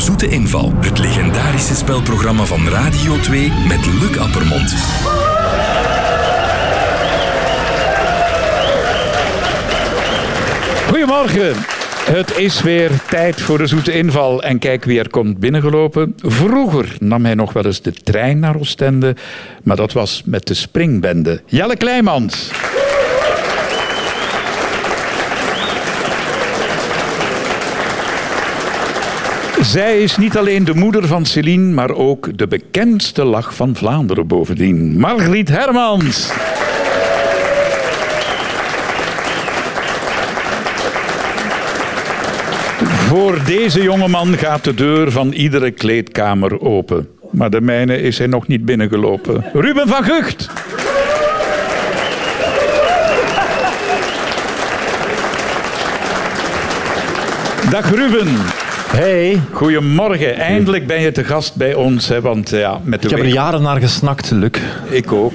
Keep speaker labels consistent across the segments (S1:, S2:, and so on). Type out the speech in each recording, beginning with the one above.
S1: Festival. Het legendarische spelprogramma van Radio 2 met Luc Appermond.
S2: Goedemorgen. Het is weer tijd voor de zoete inval. En kijk wie er komt binnengelopen. Vroeger nam hij nog wel eens de trein naar Oostende. Maar dat was met de springbende. Jelle Kleimans. Zij is niet alleen de moeder van Céline, maar ook de bekendste lach van Vlaanderen bovendien. Margriet Hermans. Voor deze jongeman gaat de deur van iedere kleedkamer open. Maar de mijne is hij nog niet binnengelopen. Ruben van Gucht. Dag Ruben.
S3: Hey,
S2: Goedemorgen. Eindelijk ben je te gast bij ons. Hè, want ja, met de
S3: ik heb er
S2: week...
S3: jaren naar gesnakt, Luc.
S2: Ik ook.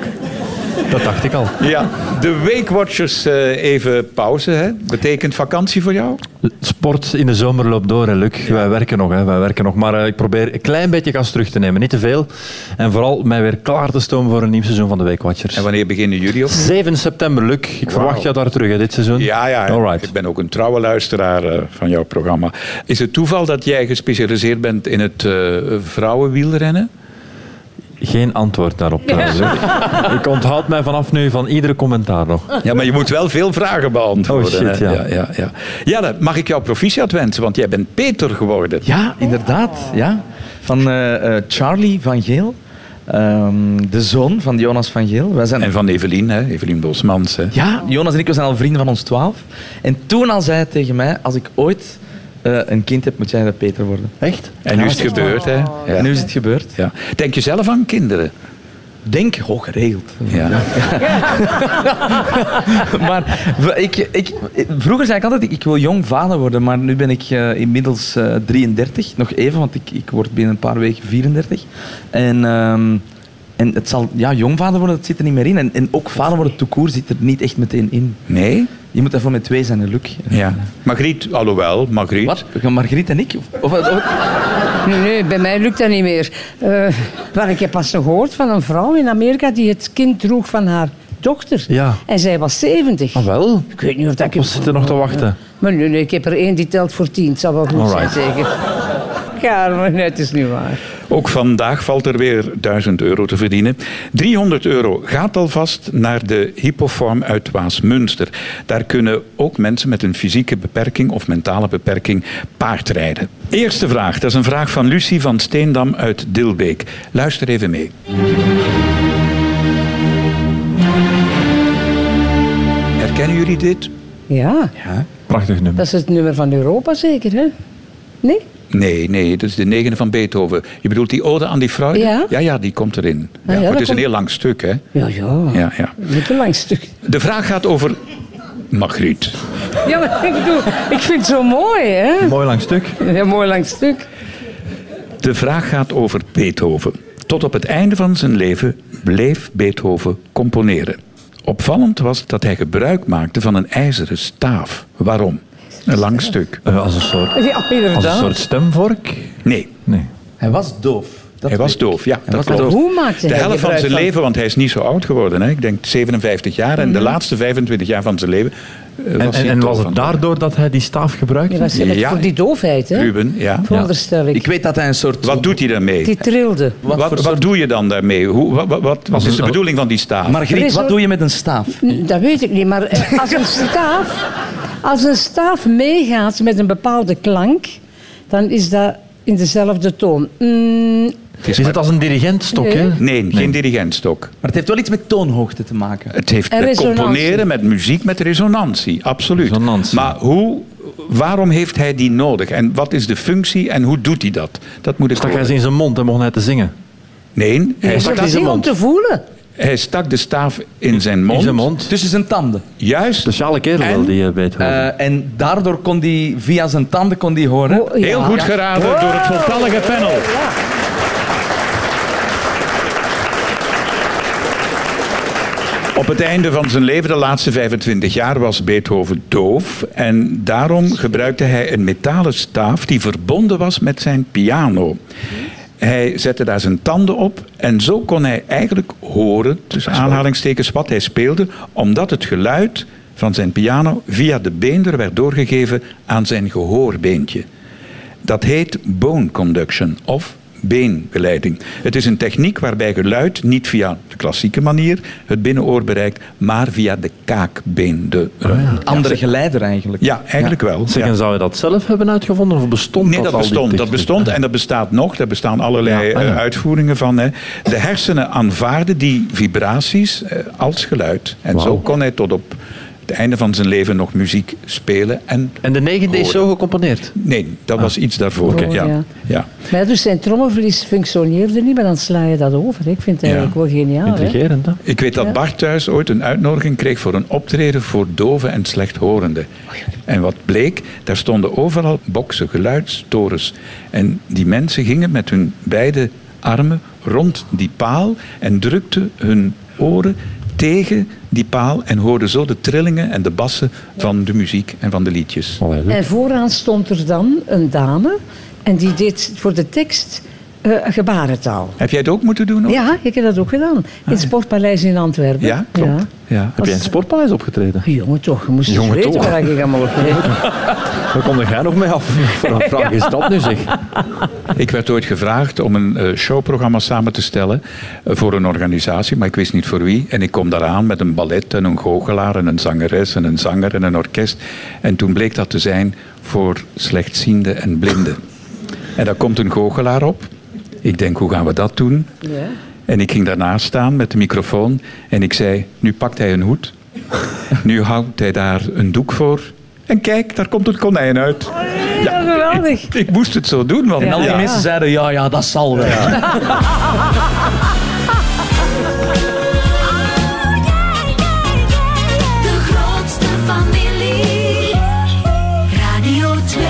S3: Dat dacht ik al.
S2: Ja, de Weekwatchers eh, even pauze. Hè. Betekent vakantie voor jou?
S3: Sport in de zomer loopt door, hè, Luc. Wij werken nog, hè. Wij werken nog. Maar eh, ik probeer een klein beetje gas terug te nemen. Niet te veel. En vooral mij weer klaar te stomen voor een nieuw seizoen van de Weekwatchers.
S2: En wanneer beginnen jullie op?
S3: 7 september, Luc. Ik verwacht jou daar terug, hè, dit seizoen.
S2: Ja, ja.
S3: Alright.
S2: Ik ben ook een trouwe luisteraar eh, van jouw programma. Is het toeval dat jij gespecialiseerd bent in het eh, vrouwenwielrennen?
S3: Geen antwoord daarop, trouwens. hè. Ik onthoud mij vanaf nu van iedere commentaar nog.
S4: Ah,
S2: Ja, maar je moet wel veel vragen beantwoorden.
S3: Oh, shit,
S2: hè.
S3: ja.
S2: Ja, ja, ja. Jelle, mag ik jou proficiat wensen? Want jij bent Peter geworden.
S5: Ja, inderdaad.
S2: Oh.
S5: Ja. Van eh, eh, Charlie van Geel. Ehm, de zoon van Jonas van Geel. Wij zijn,
S2: En van Evelien, hè? Evelien Bosmans. Hè?
S5: ja, Jonas en ik we zijn al vrienden van ons twaalf. En toen al zei hij tegen mij, als ik ooit eh, een kind heb, moet jij dat Peter worden.
S3: Echt?
S2: En nu is het gebeurd, hè? Ja.
S5: En nu is het gebeurd.
S2: Ja. Denk je zelf aan kinderen?
S5: Denk hoog geregeld.
S2: Ja.
S5: Maar v- ik, ik, vroeger zei ik altijd, ik wil jong vader worden. Maar nu ben ik eh, inmiddels eh, 33. Nog even, want ik, ik word binnen een paar weken 34. En, ehm, en het zal, ja, jong vader worden, dat zit er niet meer in. En, en ook vader worden tout court zit er niet echt meteen in.
S2: Nee?
S5: Je moet daarvoor met twee zijn, hè, Luc.
S2: Ja. Margriet, alhoewel, Margriet.
S5: Wat? Margriet en ik? Of, of, of-
S4: Nee, nee, bij mij lukt dat niet meer. Eh maar ik heb pas nog gehoord van een vrouw in Amerika die het kind droeg van haar dochter.
S3: Ja.
S4: En zij was 70.
S3: Ah, wel.
S4: Ik weet niet of dat ik...
S3: We zitten nog te wachten.
S4: Maar nee, nee, ik heb er één die telt voor tien. Het zal wel goed
S3: Alright.
S4: zijn, zeker. Ja, maar nee, het is niet waar.
S2: Ook vandaag valt er weer 1000 euro te verdienen. 300 euro gaat alvast naar de Hippoform uit Waasmunster. Daar kunnen ook mensen met een fysieke beperking of mentale beperking paardrijden. Eerste vraag, dat is een vraag van Lucie van Steendam uit Dilbeek. Luister even mee. Herkennen jullie dit?
S4: Ja,
S3: Prachtig nummer.
S4: dat is het nummer van Europa zeker, hè? Nee?
S2: Nee, nee, dat is de negende van Beethoven. Je bedoelt die ode aan die Freude?
S4: Ja. Ah,
S2: ja, ja, die komt erin. Ja,
S4: ja,
S2: maar
S4: dat
S2: het is een
S4: komt-
S2: heel lang stuk, hè?
S4: Ja, ja.
S2: Ja, ja.
S4: Niet een lang stuk.
S2: De vraag gaat over Margriet.
S4: Ja, maar ik bedoel, ik vind het zo mooi, hè?
S3: Mooi lang stuk.
S4: Een heel mooi lang stuk.
S2: De vraag gaat over Beethoven. Tot op het einde van zijn leven bleef Beethoven componeren. Opvallend was dat hij gebruik maakte van een ijzeren staaf. Waarom? Een lang stuk.
S3: Eh, als, een soort,
S4: Ja,
S3: als een
S4: inderdaad.
S3: soort stemvork?
S2: Nee,
S3: Nee.
S5: Hij was doof. Dat
S2: hij was
S5: weet ik.
S2: doof. Ja, dat
S5: was
S2: klopt.
S5: doof.
S4: Hoe maakte
S2: De
S4: hij
S2: helft van
S4: gebruik
S2: zijn leven, want hij is niet zo oud geworden. Hè? Ik denk 57 jaar. En de laatste 25 jaar van zijn leven eh, was
S3: En, en,
S2: hij
S3: en
S2: doof
S3: was
S2: aan
S3: het daardoor dat hij die staaf gebruikte?
S4: Ja, dat is het
S2: Ja.
S4: voor die doofheid, hè?
S2: Ruben, ja.
S4: Veronderstel ik.
S5: Ik weet dat hij een soort...
S2: Wat doet hij daarmee?
S4: Die trilde.
S5: wat
S2: Wat,
S5: voor
S2: wat
S5: soort-
S2: doe je dan daarmee? Hoe, wat, wat, wat, wat is de
S3: een-
S2: bedoeling van die staaf?
S4: Er
S5: Margriet,
S4: is
S5: wat
S4: ook-
S5: doe je met een staaf?
S4: N- Dat weet ik niet, maar eh, als een staaf, als een staaf meegaat met een bepaalde klank, dan is dat in dezelfde toon. Mm,
S3: Is het als een dirigentstok,
S4: Nee.
S3: hè?
S2: Nee, geen dirigentstok.
S5: Maar het heeft wel iets met toonhoogte te maken.
S2: Het heeft
S4: En
S2: met
S4: resonantie.
S2: componeren, met muziek, met resonantie. Absoluut.
S3: Resonantie.
S2: Maar hoe, waarom heeft hij die nodig? En wat is de functie en hoe doet hij dat? Dat moet ik
S3: Stak hij
S2: horen.
S3: ze in zijn mond en begon hij te zingen.
S2: Nee, hij
S4: is
S2: stak,
S4: dat niet om te voelen?
S2: hij stak de staaf in zijn mond.
S3: In zijn mond.
S5: Tussen zijn tanden.
S2: Juist.
S3: Speciale kerel wel,
S2: En?
S3: die eh, Beethoven.
S5: Eh, en daardoor kon hij via zijn tanden kon die horen.
S4: Oh, ja.
S2: Heel goed geraden door het voltallige panel. Op het einde van zijn leven, de laatste 25 jaar, was Beethoven doof. En daarom gebruikte hij een metalen staaf die verbonden was met zijn piano. Hij zette daar zijn tanden op en zo kon hij eigenlijk horen, tussen aanhalingstekens, wat hij speelde, omdat het geluid van zijn piano via de beender werd doorgegeven aan zijn gehoorbeentje. Dat heet bone conduction of beengeleiding. Het is een techniek waarbij geluid niet via de klassieke manier het binnenoor bereikt, maar via de kaakbeen. De,
S5: Andere geleider eigenlijk.
S2: ja, eigenlijk wel.
S3: Zeg,
S2: ja.
S3: en zou je dat zelf hebben uitgevonden of bestond
S2: Nee, dat
S3: al, die
S2: bestond, dat
S3: techniek?
S2: bestond en dat bestaat nog. Daar bestaan allerlei
S3: Ja, ah ja.
S2: eh, uitvoeringen van. Hè. De hersenen aanvaarden die vibraties eh, als geluid. En zo
S3: Wauw.
S2: kon hij tot op het einde van zijn leven nog muziek spelen. En,
S3: En Ah. de negende is zo gecomponeerd?
S2: nee, dat was iets daarvoor.
S4: Oh,
S2: ja. Ja.
S4: ja. Maar ja, dus zijn trommelvlies functioneerde niet, maar dan sla je dat over. hè. Ik vind het
S2: Ja.
S4: eigenlijk wel geniaal. hè.
S3: Intrigerend, hè?
S2: Ik weet dat
S4: Ja.
S2: Bart thuis ooit een uitnodiging kreeg voor een optreden voor doven en slechthorenden.
S4: Oh,
S2: En wat bleek, daar stonden overal boksen, geluidstorens. En die mensen gingen met hun beide armen rond die paal en drukten hun oren tegen die paal en hoorden zo de trillingen en de bassen van de muziek en van de liedjes.
S3: Allee, leuk.
S4: En vooraan stond er dan een dame en die deed voor de tekst eh, gebarentaal.
S2: Heb jij het ook moeten doen? ook?
S4: Ja, ik heb dat ook gedaan. In het Sportpaleis in Antwerpen.
S2: Ja, klopt. Ja.
S3: Heb jij in het sportpaleis opgetreden?
S4: Jongen toch, je moest eens
S3: Jongen
S4: weten
S3: toch.
S4: waar ik allemaal op deed.
S3: Waar kom jij nog mee af? Voor een vraag is dat nu, zeg.
S2: Ik werd ooit gevraagd om een eh, showprogramma samen te stellen eh, voor een organisatie, maar ik wist niet voor wie. En ik kom daaraan met een ballet en een goochelaar en een zangeres en een zanger en een orkest. En toen bleek dat te zijn voor slechtzienden en blinden. En daar komt een goochelaar op. Ik denk, hoe gaan we dat doen?
S4: Ja.
S2: En ik ging daarnaast staan met de microfoon en ik zei, nu pakt hij een hoed. Nu houdt hij daar een doek voor. En kijk, daar komt het konijn uit.
S4: Ja, geweldig.
S2: Ik moest het zo doen, want
S5: En al die
S2: ja.
S5: mensen zeiden, ja, ja, dat zal wel.
S6: De grootste familie. Radio 2.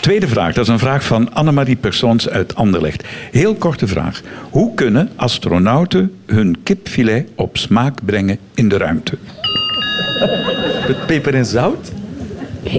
S2: Tweede vraag, dat is een vraag van Annemarie Persons uit Anderlecht. Heel korte vraag. Hoe kunnen astronauten hun kipfilet op smaak brengen in de ruimte?
S5: Met peper en zout.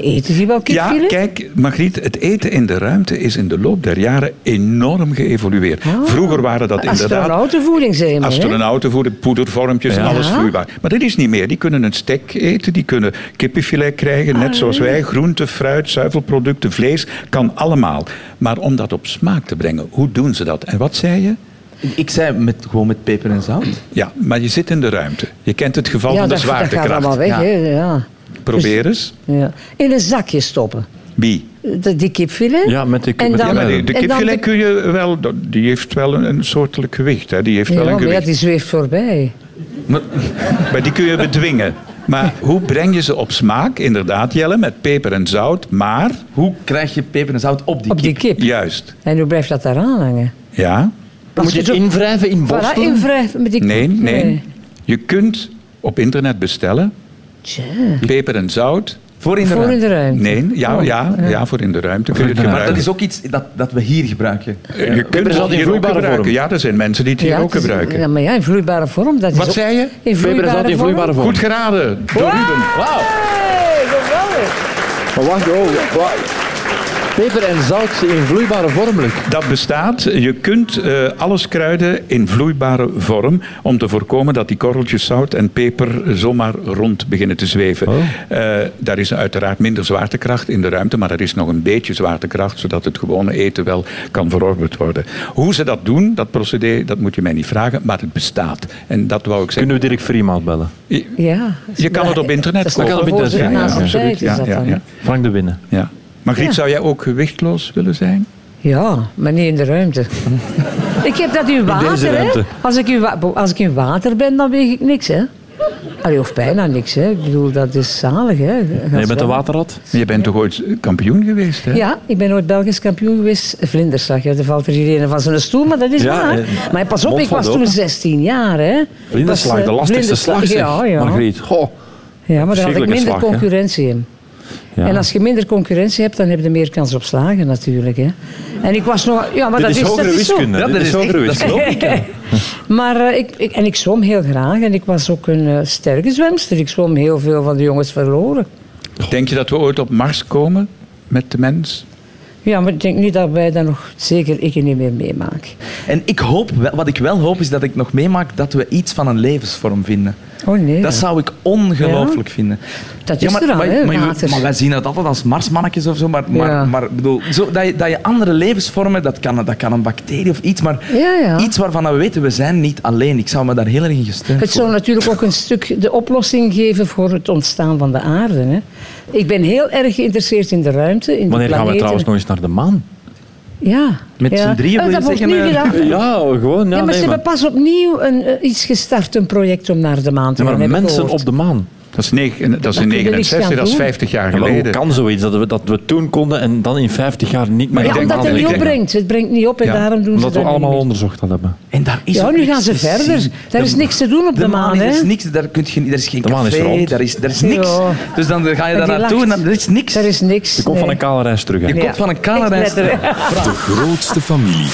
S4: Eten die wel
S2: ja,
S4: kipfilet?
S2: kijk, Margriet, het eten in de ruimte is in de loop der jaren enorm geëvolueerd. Vroeger waren dat inderdaad
S4: Astronautenvoeding, zei je maar, Oh. hè?
S2: astronauten voor de poedervormpjes en alles
S4: Ja.
S2: vloeibaar. Maar dat is niet meer. Die kunnen een stek eten, die kunnen kippenfilet krijgen, net zoals
S4: Ah.
S2: wij. Groente, fruit, zuivelproducten, vlees, kan allemaal. Maar om dat op smaak te brengen, hoe doen ze dat? En wat zei je?
S5: Ik zei, met, gewoon met peper en zout.
S2: Ja, maar je zit in de ruimte. Je kent het geval
S4: Ja,
S2: van de
S4: dat, dat gaat
S2: zwaartekracht.
S4: allemaal weg, Dus-
S5: Ja.
S4: hè. Ja.
S2: Probeer eens.
S4: Ja. In een zakje stoppen.
S2: Wie?
S4: De, die kipfilet.
S3: Ja, met die-
S4: En
S3: met die-
S4: dan-
S2: Ja, maar de, de
S4: en dan
S2: kipfilet
S4: de-
S2: kun je wel... dat- Die heeft wel een, een soortelijk gewicht. Hè. Die heeft wel
S4: Ja,
S2: een
S4: maar ja,
S2: gewicht.
S4: die zweeft voorbij.
S2: Maar, maar die kun je bedwingen. Maar hoe breng je ze op smaak? Inderdaad, Jelle, met peper en zout. Maar,
S5: Hoe krijg je peper en zout op die
S4: Op die
S5: kip?
S4: kip.
S2: juist.
S4: En hoe blijft dat daaraan hangen?
S2: Ja?
S3: Moet je het
S4: zo-
S3: invrijven in
S4: Voilà,
S3: Boston?
S4: invrijven met die
S2: Nee, nee. Je kunt op internet bestellen.
S4: Tja.
S2: Peper en zout.
S5: Voor in de
S4: Voor in
S5: ruimte.
S4: de ruimte. Oh.
S2: Nee, ja, ja, ja, voor in de ruimte kun je het
S5: Maar dat
S2: gebruiken.
S5: is ook iets dat, dat we hier gebruiken.
S2: Je kunt
S3: is al
S2: het hier
S3: in
S2: ook
S3: vloeibare
S2: gebruiken.
S3: vorm.
S2: Ja, er zijn mensen die het hier
S4: Ja,
S2: ook
S4: het is-
S2: gebruiken.
S4: Ja, maar ja, in vloeibare vorm. Dat is
S2: Wat
S4: ook-
S2: zei je?
S4: In
S3: Peper en zout in vloeibare vorm.
S2: Goed geraden door Ruben.
S3: Wauw.
S4: Hey, geweldig.
S3: Maar wacht, oh, wacht. Peper en zout in vloeibare vorm, Luc.
S2: Dat bestaat. Je kunt eh, alles kruiden in vloeibare vorm om te voorkomen dat die korreltjes zout en peper zomaar rond beginnen te zweven. Eh, daar is uiteraard minder zwaartekracht in de ruimte, maar er is nog een beetje zwaartekracht, zodat het gewone eten wel kan verorberd worden. Hoe ze dat doen, dat procedé, dat moet je mij niet vragen, maar het bestaat. En dat wou ik zeggen.
S3: Kunnen we Dirk Vriemaat bellen?
S4: Ja.
S2: Je kan het op internet
S4: Dat is
S2: kopen.
S4: toch
S3: Dat kan op
S4: een voorzet
S3: internet, ja,
S4: naast
S3: ja,
S4: de
S2: absoluut.
S4: tijd, is
S2: Ja,
S4: dat
S2: ja,
S4: dan, hè?
S2: ja.
S3: Frank de Winnen.
S2: Ja. Margriet,
S4: Ja.
S2: zou jij ook gewichtloos willen zijn?
S4: Ja, maar niet in de ruimte. ik heb dat in
S3: deze
S4: water, hè.
S3: ruimte.
S4: Als ik in, wa- bo- als ik in water ben, dan weeg ik niks, hè. Allee, of bijna niks, hè. Ik bedoel, dat is zalig, hè.
S3: Nee, je bent een waterrat?
S2: Je bent toch ooit kampioen geweest, hè?
S4: Ja, ik ben ooit Belgisch kampioen geweest. Vlinderslag, ja, daar valt er hier een van zijn stoel, maar dat is
S3: Ja,
S4: waar.
S3: eh,
S4: Maar pas op,
S3: mond
S4: ik
S3: van
S4: was
S3: de
S4: toen
S3: open.
S4: 16 jaar, hè.
S3: Vlinderslag,
S4: Was,
S3: de
S4: eh,
S3: lastigste
S4: vlinderslag,
S3: slag, zeg.
S4: Ja, ja.
S3: Margriet, goh.
S4: ja maar daar had ik
S3: Verschrikkelijke
S4: minder
S3: slag, hè.
S4: concurrentie in.
S3: Ja.
S4: En als je minder concurrentie hebt, dan heb je meer kans op slagen natuurlijk. Hè. En ik was nog... Ja, maar
S3: Dit
S4: dat is,
S3: is
S4: dat
S3: hogere
S4: is zo.
S3: wiskunde.
S5: Ja,
S3: Dit
S5: dat
S3: is
S5: is
S3: hogere
S5: echt- dat is
S3: wiskunde.
S4: Maar eh, ik, ik, en ik zwom heel graag en ik was ook een eh, sterke zwemster. Ik zwom heel veel van de jongens verloren.
S2: Denk je dat we ooit op Mars komen met de mens?
S4: Ja, maar ik denk niet dat wij dat nog zeker ik er niet meer meemaken.
S5: En ik hoop, wel- wat ik wel hoop, is dat ik nog meemaak dat we iets van een levensvorm vinden.
S4: Oh nee.
S5: Dat zou ik ongelooflijk vinden.
S4: Dat is
S5: maar,
S4: er al,
S5: maar,
S4: hè,
S5: maar,
S4: water.
S5: maar wij zien dat altijd als marsmannetjes of zo. Maar,
S4: Ja.
S5: maar, maar ik bedoel, zo, dat, je, dat je andere levensvormen, dat kan, dat kan een bacterie of iets, maar
S4: Ja, ja.
S5: iets waarvan we weten, we zijn niet alleen. Ik zou me daar heel erg in gesteund
S4: Het zou
S5: voelen.
S4: natuurlijk ook een stuk de oplossing geven voor het ontstaan van de aarde. Hè. Ik ben heel erg geïnteresseerd in de ruimte, in
S3: Wanneer
S4: de
S3: gaan we
S4: planeten.
S3: trouwens nog eens naar de maan?
S4: Ja.
S5: Met
S4: ja.
S5: z'n drieën
S4: Oh,
S5: wil je
S4: dat wordt
S5: zeggen,
S4: nu
S5: eh,
S4: gedaan.
S3: Ja, gewoon. Ja,
S4: Ja, maar ze
S3: Nou, nee,
S4: hebben
S3: maar,
S4: pas opnieuw een, eh, iets gestart, een project om naar de maan te
S3: Ja,
S4: gaan.
S3: maar
S4: heb ik
S3: mensen
S4: gehoord.
S3: op de maan.
S2: Dat is, negen, dat is
S4: Daar
S2: in
S4: kun je niks
S2: 69, dat is
S4: aan doen.
S2: 50 jaar
S3: Ja, maar hoe
S2: geleden.
S3: kan zoiets dat we, dat we toen konden en dan in 50 jaar niet meer?
S4: Ja,
S2: ik
S3: aan de
S2: denk-
S4: omdat
S3: maan
S4: het
S2: ik
S4: niet
S3: denken?
S2: denk-
S4: opbrengt. Het brengt niet op en
S2: Ja,
S4: daarom doen
S3: Omdat
S4: ze
S3: we
S4: dat
S3: allemaal
S4: niet meer.
S3: onderzocht dat hebben.
S5: En daar is
S4: Ja,
S5: ook
S4: nu
S5: niks
S4: gaan ze
S5: te
S4: verder.
S5: zien.
S4: Daar
S5: De-
S4: is niks te doen op de, maan.
S5: Er is
S4: hè.
S5: niks, daar, kun je, daar is geen
S3: De maan is
S5: café,
S3: rond.
S5: daar is, daar is niks.
S4: Ja.
S5: Dus dan ga je
S4: En
S5: daar
S4: die
S5: naartoe en
S4: lacht.
S5: dan er is niks.
S4: Er is niks.
S3: Je komt van
S4: nee.
S3: een kale reis terug.
S5: Je
S3: hè.
S5: komt van een kale
S4: Ik
S5: reis.
S4: let er-
S1: De grootste familie.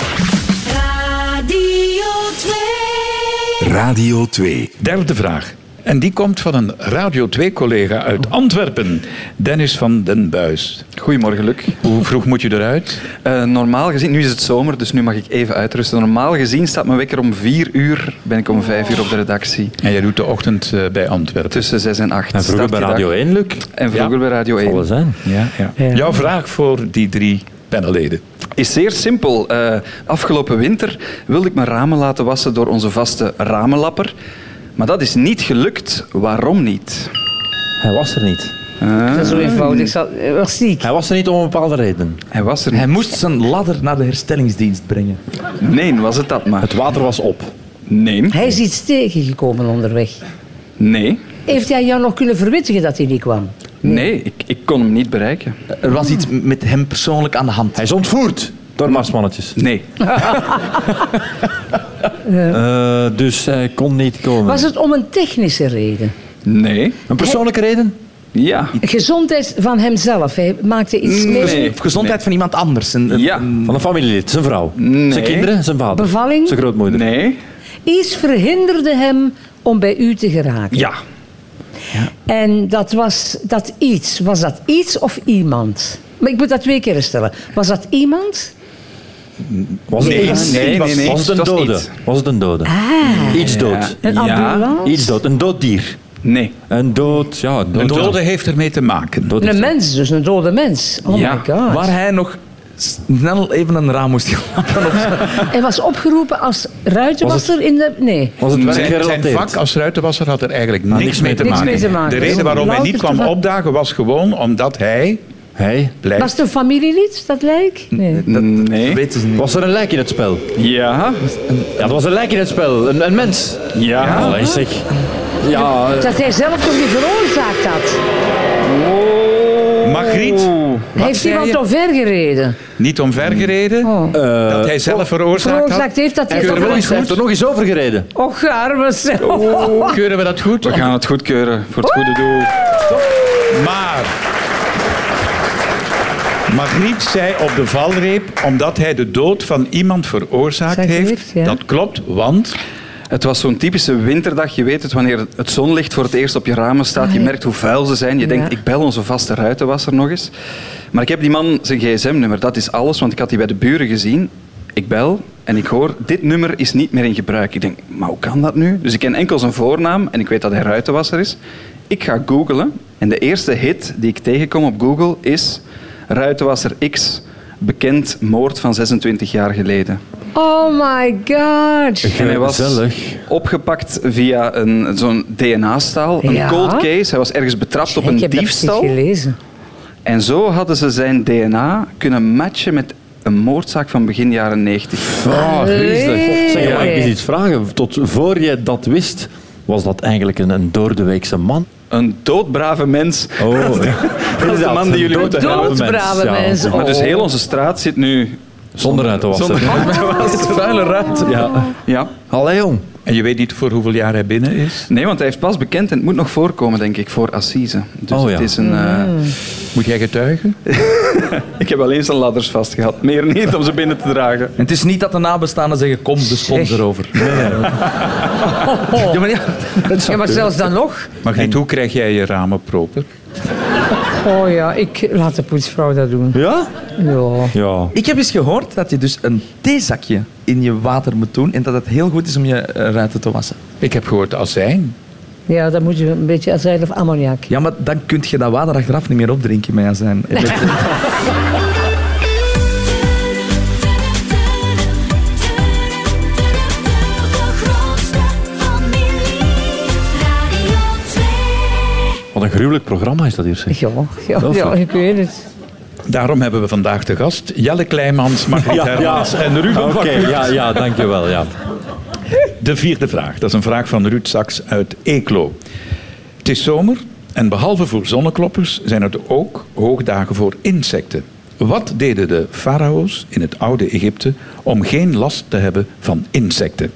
S6: Radio 2.
S1: Radio 2.
S2: Derde vraag. En die komt van een Radio 2-collega uit Antwerpen, Dennis van den Buis.
S7: Goedemorgen, Luc.
S2: Hoe vroeg moet je eruit?
S7: Eh, normaal gezien, nu is het zomer, dus nu mag ik even uitrusten. Normaal gezien staat mijn wekker om 4 uur, ben ik om 5 uur op de redactie.
S2: En jij doet de ochtend eh, bij Antwerpen.
S7: Tussen 6 en 8.
S3: En vroeger bij Radio 1, Luc.
S7: En vroeger bij Radio
S3: Zal
S7: 1.
S3: wel zijn.
S2: Ja, ja.
S4: Ja.
S2: Jouw vraag voor die drie panelleden.
S7: Is zeer simpel. Eh, afgelopen winter wilde ik mijn ramen laten wassen door onze vaste ramenlapper. Maar dat is niet gelukt. Waarom niet?
S3: Hij was er niet.
S4: Dat is zo eenvoudig. Ik zal- eh, Was ziek.
S3: Hij was er niet om een bepaalde reden.
S7: Hij was er
S5: Hij
S7: niet.
S5: moest zijn ladder naar de herstellingsdienst brengen.
S7: Nee, was het dat maar.
S3: Het water was op.
S7: Nee,
S4: Hij is iets tegengekomen onderweg.
S7: nee,
S4: Heeft jij jou nog kunnen verwittigen dat hij niet kwam?
S7: nee. Ik, ik kon hem niet bereiken.
S5: Er was iets m- met hem persoonlijk aan de hand.
S3: Hij is ontvoerd door Marsmannetjes.
S7: Nee.
S3: Eh, dus hij kon niet komen.
S4: Was het om een technische reden?
S7: Nee.
S3: Een persoonlijke reden?
S7: Ja.
S4: Gezondheid van hemzelf. Hij maakte iets mee.
S7: Nee.
S5: Of gezondheid van iemand anders. Een- een-
S7: Ja.
S5: een-
S3: Van een familielid, zijn vrouw,
S7: Nee.
S3: zijn kinderen, zijn vader,
S4: Bevalling?
S3: zijn grootmoeder.
S7: Nee.
S4: Iets verhinderde hem om bij u te geraken.
S7: Ja.
S4: En dat was dat iets. Was dat iets of iemand? Maar ik moet dat twee keer herstellen. Was dat iemand?
S3: Was het
S7: Nee,
S3: iets?
S7: nee, nee, nee.
S3: Was het een
S7: Het was
S3: dode?
S7: iets.
S3: Was het een dode?
S4: Ah,
S3: Iets dood.
S4: een
S7: Ja,
S4: ambulance?
S3: Iets dood. Een dood dier.
S7: Nee.
S3: Een dood, ja, een dood.
S2: De dode heeft ermee te maken.
S3: Dood
S4: Een
S3: is-
S4: mens dus, een dode mens. Oh
S7: Ja,
S4: my god.
S5: waar hij nog snel even een raam moest gaan lappen.
S4: Hij was opgeroepen als ruitenwasser in de... Nee.
S3: Was het werk
S2: Zijn, zijn
S3: gerelateerd?
S2: vak als ruitenwasser had er eigenlijk niks, mee te
S4: niks
S2: maken.
S4: mee te maken.
S2: De reden waarom hij niet
S4: Louter
S2: kwam
S4: toeval.
S2: opdagen was gewoon omdat hij
S3: Hij?
S4: Was
S2: blijft.
S4: het een familielid, dat lijk? Nee.
S7: Nee.
S5: Weten ze niet.
S3: Was er een lijk in het spel?
S7: Ja.
S3: Ja, er was een lijk in het spel. Een, een mens.
S7: Ja.
S3: Allee, zeg. Ja, eh,
S4: Dat hij zelf toch niet veroorzaakt had.
S2: Magriet,
S4: Oh. Heeft
S2: zei
S4: iemand
S2: je?
S4: omver gereden?
S2: niet omvergereden,
S4: Oh.
S2: dat hij zelf veroorzaakt had.
S4: Veroorzaakt heeft dat
S3: hij heeft er nog eens- Oh. hij heeft er nog eens over gereden.
S4: Och, arme zelf.
S2: Keuren we dat goed?
S7: We gaan het goedkeuren voor het goede doel.
S2: Maar... Magriet zei op de valreep, omdat hij de dood van iemand veroorzaakt
S4: Zij
S2: heeft.
S4: heeft, ja.
S2: Dat klopt, want...
S7: Het was zo'n typische winterdag. Je weet het wanneer het zonlicht voor het eerst op je ramen staat. Je merkt hoe vuil ze zijn. Je
S4: Ja.
S7: denkt, ik bel onze vaste ruitenwasser nog eens. Maar ik heb die man zijn gsm-nummer. Dat is alles, want ik had die bij de buren gezien. Ik bel en ik hoor, dit nummer is niet meer in gebruik. Ik denk, maar hoe kan dat nu? Dus ik ken enkel zijn voornaam en ik weet dat hij ruitenwasser is. Ik ga googlen en de eerste hit die ik tegenkom op Google is... Ruitenwasser X, bekend moord van 26 jaar geleden.
S4: Oh my god.
S7: En hij was
S3: Gezellig.
S7: opgepakt via een, zo'n DNA-staal, een
S4: Ja.
S7: cold case. Hij was ergens betrapt op een
S4: Ik heb dat niet
S7: diefstal.
S4: gelezen.
S7: En zo hadden ze zijn DNA kunnen matchen met een moordzaak van begin jaren 90.
S3: Ah, griezelig.
S4: Allee.
S3: Zeg, mag ik eens iets vragen? Tot voor je dat wist, was dat eigenlijk een, een doordeweekse man?
S7: Een doodbrave mens.
S3: Oh,
S7: Dat is de man die jullie moeten
S4: Doodbrave
S3: mensen.
S4: mensen.
S7: Maar dus
S4: Oh.
S7: heel onze straat zit nu
S3: Zonder uit te wassen.
S7: Zonder
S5: Dat is vuile ruimte.
S3: Ja.
S7: Ja.
S3: Allee, jong.
S2: En je weet niet voor hoeveel jaar hij binnen is.
S7: Nee, want hij heeft pas bekend en het moet nog voorkomen, denk ik, voor Assise. Dus
S3: Oh, ja.
S7: het is een... eh,
S2: Moet jij getuigen?
S7: Ik heb alleen zijn ladders vastgehad. Meer niet om ze binnen te dragen.
S5: En het is niet dat de nabestaanden zeggen, kom, de sponsor over. Ja, maar ja,
S4: Ja, maar zelfs dan nog.
S2: Maar niet, hoe krijg jij je ramen proper?
S4: Oh ja, ik laat de poetsvrouw dat doen.
S5: ja?
S4: Ja.
S3: Ja.
S5: Ik heb eens gehoord dat je dus een theezakje in je water moet doen en dat het heel goed is om je eh, ruiten te wassen.
S2: Ik heb gehoord azijn.
S4: ja, dan moet je een beetje azijn of ammoniak.
S5: Ja, maar dan kun je dat water achteraf niet meer opdrinken met azijn.
S6: de grootste familie. Radio 2.
S3: Wat een gruwelijk programma is dat hier, zeg.
S4: Ja, ja,
S3: Wel
S4: ja,
S3: goed.
S4: ik weet het.
S2: Daarom hebben we vandaag de gast Jelle Kleimans, Margriet Hermans en Ruben
S3: Oké,
S2: van Kleef.
S3: ja, ja, dankjewel. Ja.
S2: De vierde vraag, dat is een vraag van Ruud Saks uit Eeklo. Het is zomer en behalve voor zonnekloppers zijn het ook hoogdagen voor insecten. Wat deden de farao's in het oude Egypte om geen last te hebben van insecten?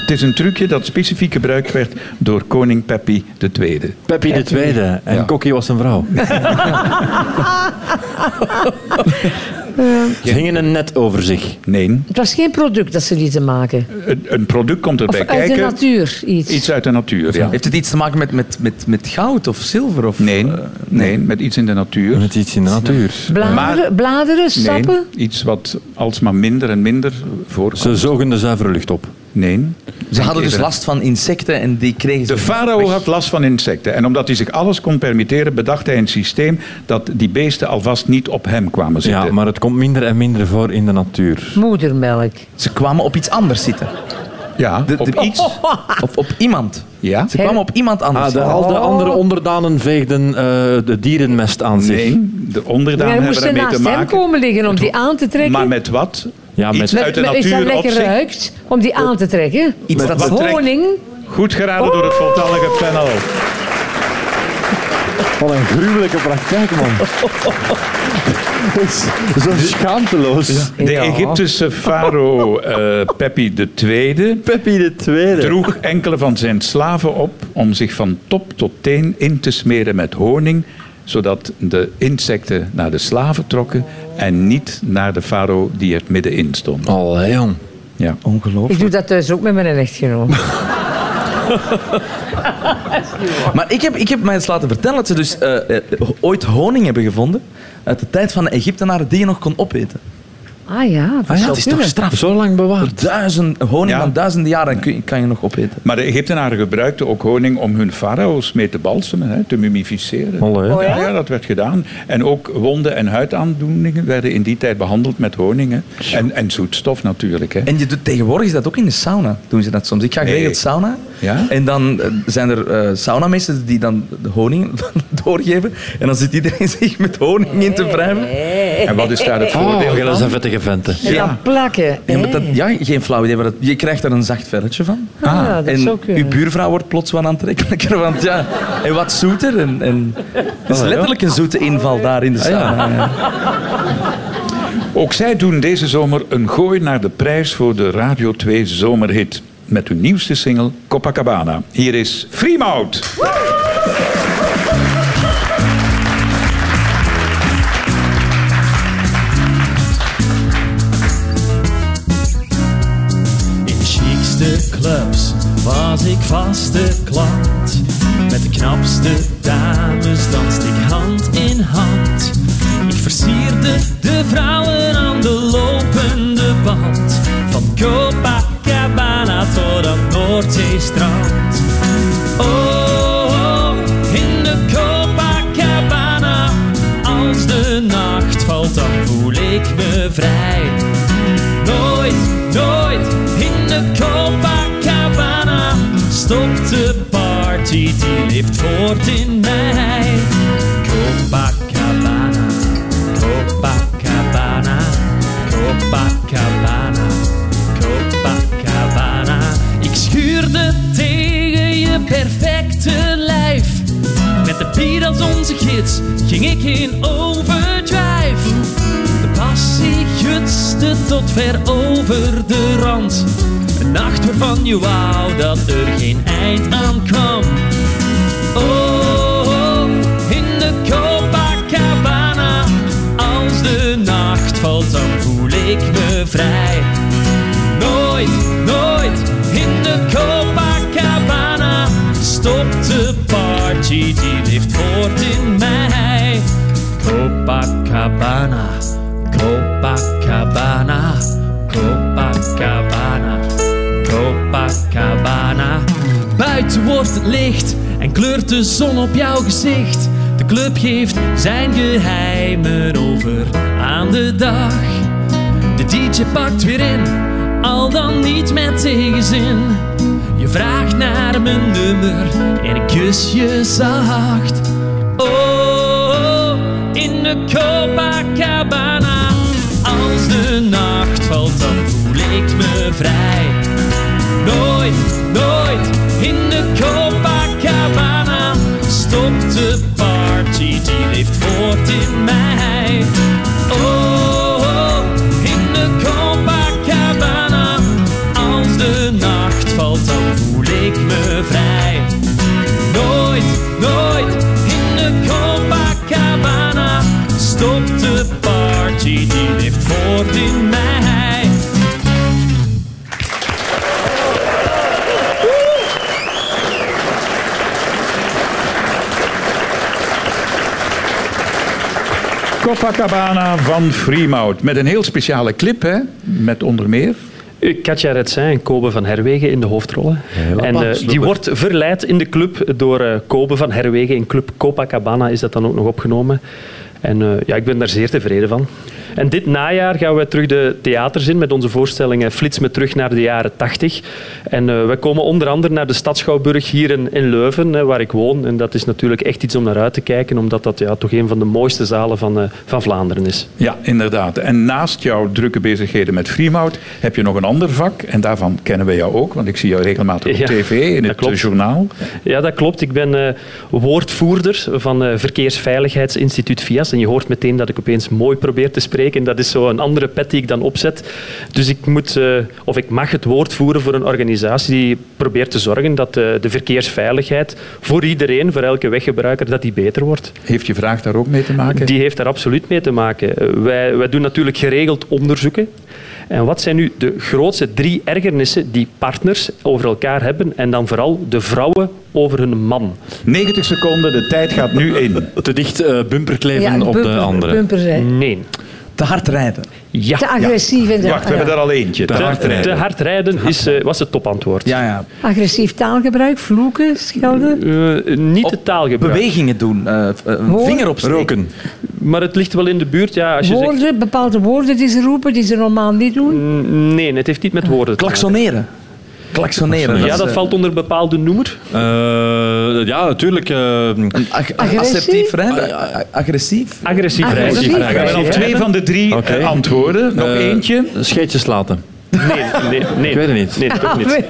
S2: Het is een trucje dat specifiek gebruikt werd door koning Pepi II.
S3: Peppy de Tweede en
S2: Ja.
S3: Kokkie was een vrouw. Ze hingen een net over zich.
S2: Nee,
S4: Het was geen product dat ze lieten maken.
S2: een- een product komt
S4: Of
S2: erbij
S4: uit
S2: kijken.
S4: de natuur iets.
S2: Iets uit de natuur, ja.
S5: Heeft het iets te maken met, met, met, met goud of zilver? Of,
S2: Nee,
S5: eh,
S2: nee, met iets in de natuur.
S3: Met iets in de natuur.
S4: Bladeren, bladeren
S2: Nee,
S4: sappen.
S2: iets wat alsmaar minder en minder voorkomt.
S3: Ze zogen de zuivere lucht op.
S2: Nee.
S5: Ze hadden dus
S2: Eerder.
S5: last van insecten en die kregen ze...
S2: De farao had last van insecten. En omdat hij zich alles kon permitteren, bedacht hij een systeem dat die beesten alvast niet op hem kwamen zitten.
S3: Ja, maar het komt minder en minder voor in de natuur.
S4: Moedermelk.
S5: Ze kwamen op iets anders zitten.
S2: Ja,
S5: De-
S2: op
S5: de- Oh,
S2: iets.
S5: Of op iemand.
S2: Ja?
S5: Ze kwamen op iemand anders
S3: Ah, de,
S5: zitten.
S3: al de andere onderdanen veegden eh, de dierenmest aan zich.
S2: Nee, de
S4: Ja,
S2: onderdaan
S4: dan
S2: hebben
S4: moesten
S2: daarmee
S4: naast
S2: te
S4: hem
S2: maken.
S4: komen liggen om die aan te trekken.
S2: Maar met wat?
S3: Ja, met-
S2: Iets
S4: Met-
S2: uit de
S4: met- Is dat
S2: natuur op
S4: lekker
S2: zich.
S4: ruikt om die aan te trekken?
S5: Iets
S4: Of
S5: dat
S2: wat trekt-
S4: honing.
S2: Goed geraden door het voltallige panel.
S3: Wat een gruwelijke praktijk, man. Zo schaamteloos.
S2: De Egyptische farao eh Pepi II
S3: Peppy de Tweede.
S2: droeg enkele van zijn slaven op om zich van top tot teen in te smeren met honing, zodat de insecten naar de slaven trokken en niet naar de farao die er middenin stond.
S3: Allee, jong.
S2: Ja.
S4: Ik
S5: Ongelooflijk.
S4: doe dat thuis ook met mijn echtgenoot.
S5: Maar ik heb, ik heb mij eens laten vertellen dat ze dus eh, eh, ooit honing hebben gevonden uit de tijd van de Egyptenaren die je nog kon opeten.
S4: Ah ja, dat
S5: Ah ja,
S4: zou
S5: het is toch
S4: kunnen.
S5: straf.
S3: Zo lang bewaard.
S5: Duizend, honing
S2: Ah. Ja.
S5: van duizenden jaren kun, je- kan je nog opeten.
S2: Maar de Egyptenaren gebruikten ook honing om hun farao's mee te balsemen, hè, te mumificeren.
S3: Allee.
S4: Oh ja?
S2: ja? dat werd gedaan. En ook wonden en huidaandoeningen werden in die tijd behandeld met honing. hè. En, en zoetstof natuurlijk. Hè.
S5: En je doet, tegenwoordig is dat ook in de sauna, doen ze dat soms. Ik ga geregeld
S2: Nee.
S5: sauna.
S2: Ja?
S5: En dan eh, zijn er eh saunameesters die dan de honing doorgeven. En dan zit iedereen zich met honing in te wrijven.
S2: En wat is daar het voordeel
S3: Oh, dat
S2: van?
S3: zijn vettige venten.
S4: En dan plakken.
S5: Ja, maar
S4: hè.
S5: dat, ja, geen flauw idee. Maar dat, je krijgt er een zacht velletje van.
S4: Ah, dat
S5: en
S4: zou kunnen.
S5: uw buurvrouw wordt plots wat aantrekkelijker. Want ja, en wat zoeter. En, en, het
S4: Oh,
S5: is
S3: ja.
S5: letterlijk een zoete inval daar
S4: Ah,
S5: in de sauna.
S2: Ook zij doen deze zomer een gooi naar de prijs voor de Radio 2 zomerhit. Met hun nieuwste single Copacabana. Hier is Freemout.
S8: In de chicste clubs was ik vaste klant. Met de knapste dames danste ik hand in hand. Ik versierde de vrouwen aan de lopende band. Van Copacabana tot aan Noordzeestrand. Oh, in de Copacabana. Als de nacht valt, dan voel ik me vrij. Nooit, nooit in de Copacabana stopt de party, die leeft voort in mij. Copacabana, Copacabana, Copacabana, Copacabana. Ik schuurde tegen je perfecte lijf. Met de bier als onze gids ging ik in overdrive. De passie gutste tot ver over de rand. Een nacht waarvan je wou dat er geen eind aan kwam. Oh, in de Copacabana. Als de nacht valt, dan voel ik me vrij. Nooit, nooit in de Copacabana stopt de party die leeft voort in mij. Copacabana, Copacabana, Copacabana, Copacabana. Buiten wordt het licht en kleurt de zon op jouw gezicht. De club geeft zijn geheimen over aan de dag. De DJ pakt weer in, al dan niet met tegenzin. Je vraagt naar mijn nummer en ik kus je zacht. Oh, in de Copacabana. Als de nacht valt, dan voel ik me vrij. Nooit, nooit in de Copacabana stopt de party, die leeft voort in mij. Oh, in de Copacabana, als de nacht valt, dan voel ik me vrij. Nooit, nooit in de Copacabana stopt de party, die leeft voort in mij.
S2: Copacabana van Freemout. Met een heel speciale clip, hè? Met onder meer.
S9: Katja Retsin en Kobe van Herwegen in de hoofdrollen. en eh, die wordt verleid in de club door eh, Kobe van Herwegen. In club Copacabana is dat dan ook nog opgenomen. En eh, ja, ik ben daar zeer tevreden van. En dit najaar gaan we terug de theaters in met onze voorstellingen Flits me terug naar de jaren 80. En eh, we komen onder andere naar de Stadschouwburg hier in, in Leuven, eh, waar ik woon. En dat is natuurlijk echt iets om naar uit te kijken, omdat dat ja, toch een van de mooiste zalen van, eh, van Vlaanderen is.
S2: Ja, inderdaad. En naast jouw drukke bezigheden met Freemout heb je nog een ander vak. En daarvan kennen we jou ook, want ik zie jou regelmatig op
S9: Ja,
S2: tv, in
S9: dat
S2: het
S9: klopt.
S2: eh, journaal.
S9: Ja, dat klopt. Ik ben eh, woordvoerder van eh Verkeersveiligheidsinstituut VIAS. En je hoort meteen dat ik opeens mooi probeer te spreken. En dat is zo een andere pet die ik dan opzet. Dus ik moet, eh, of ik mag het woord voeren voor een organisatie die probeert te zorgen dat eh, de verkeersveiligheid voor iedereen, voor elke weggebruiker, dat die beter wordt.
S2: Heeft je vraag daar ook mee te maken?
S9: Die heeft daar absoluut mee te maken. Eh, Wij, wij doen natuurlijk geregeld onderzoeken. En wat zijn nu de grootste drie ergernissen die partners over elkaar hebben? En dan vooral de vrouwen over hun man.
S2: 90 seconden, de tijd gaat nu in.
S3: Te dicht eh, bumper kleven
S4: Ja,
S3: op de
S4: bumper-
S3: andere.
S4: Bumper zijn.
S9: Nee.
S5: Te hard rijden.
S9: Mm. Ja.
S4: Te agressief en
S2: Wacht, we hebben er al eentje. Te
S9: Te
S2: hard
S9: te
S2: rijden.
S9: hard rijden is, eh, was het topantwoord.
S5: Ja, ja.
S4: agressief taalgebruik, vloeken, schelden.
S9: Eh, niet het taalgebruik,
S5: Bewegingen doen. eh, eh, een
S4: Hoor.
S5: vinger opsteken.
S3: Roken.
S9: maar het ligt wel in de buurt. Ja, als je zegt,
S4: Woorden, bepaalde woorden die ze roepen, die ze normaal niet doen.
S9: Mm, nee, het heeft niet met woorden te maken.
S5: Klaksoneren. Klaksoneren. Eh,
S9: Ja, dat valt onder bepaalde noemer.
S3: Eh, ja, natuurlijk. eh,
S4: Agressie?
S5: Assertief
S4: Ah,
S5: rijden. A- a- Agressief.
S9: Agressief rijden.
S4: Agressief.
S2: We hebben al twee van de drie
S3: Oké.
S2: eh, antwoorden. Nog
S3: eh,
S2: eentje.
S3: Scheetjes laten.
S9: Nee, nee, nee.
S3: Ik weet het niet.
S9: Nee,
S4: Ah,
S9: toch niet.
S3: Het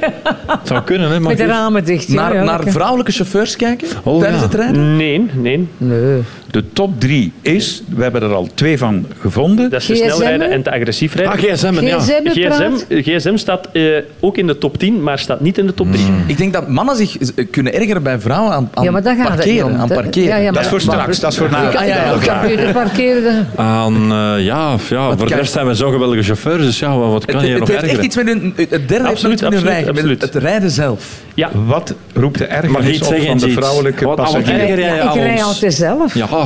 S3: zou kunnen, hè? Maar
S4: Met de
S3: goed.
S4: ramen dicht. ja,
S5: Naar,
S4: ja,
S5: naar
S4: oké. Mm.
S5: vrouwelijke chauffeurs kijken
S3: Oh,
S5: tijdens
S3: ja.
S5: het rijden.
S9: Nee, nee.
S4: Nee.
S2: De top drie is, we hebben er al twee van gevonden.
S9: Dat is te
S4: GSM?
S9: snel rijden en te agressief rijden.
S3: Ah, gsm, en, ja.
S4: GSM
S9: GSM,
S4: praat.
S9: GSM staat eh, ook in de top 10, maar staat niet in de top 3.
S5: Ik denk dat mannen zich eh, kunnen ergeren bij vrouwen aan, aan
S4: Ja, maar daar gaat het niet
S5: parkeren.
S4: om.
S5: Aan
S4: Dat-
S5: parkeren.
S4: ja, ja, maar-
S2: dat is voor Ah,
S4: maar-
S2: straks, dat is voor na.
S4: Ja, ja,
S5: ja,
S4: ja,
S5: oké.
S4: computer parkeren. de-
S3: Aan, eh, ja, f- ja voor de
S5: kan-
S3: rest zijn we zo geweldige chauffeurs, dus ja, wat, wat kan
S5: Het,
S3: je
S5: het
S3: nog
S5: heeft echt
S3: ergeren?
S5: iets met hun, het derde heeft
S9: Absoluut,
S5: niks met hun
S9: absoluut,
S5: rijden, met
S9: absoluut.
S5: het rijden zelf.
S9: Ja,
S2: Wat roept de
S3: Mag
S2: ergernis
S3: niet
S2: op
S3: zeggen,
S2: van de
S3: Jeet.
S2: vrouwelijke
S3: Wat allemaal
S2: passagier?
S3: erger jij
S4: Ja,
S3: aan
S4: ik rij
S3: ons?
S4: altijd zelf.
S3: Ja, oh.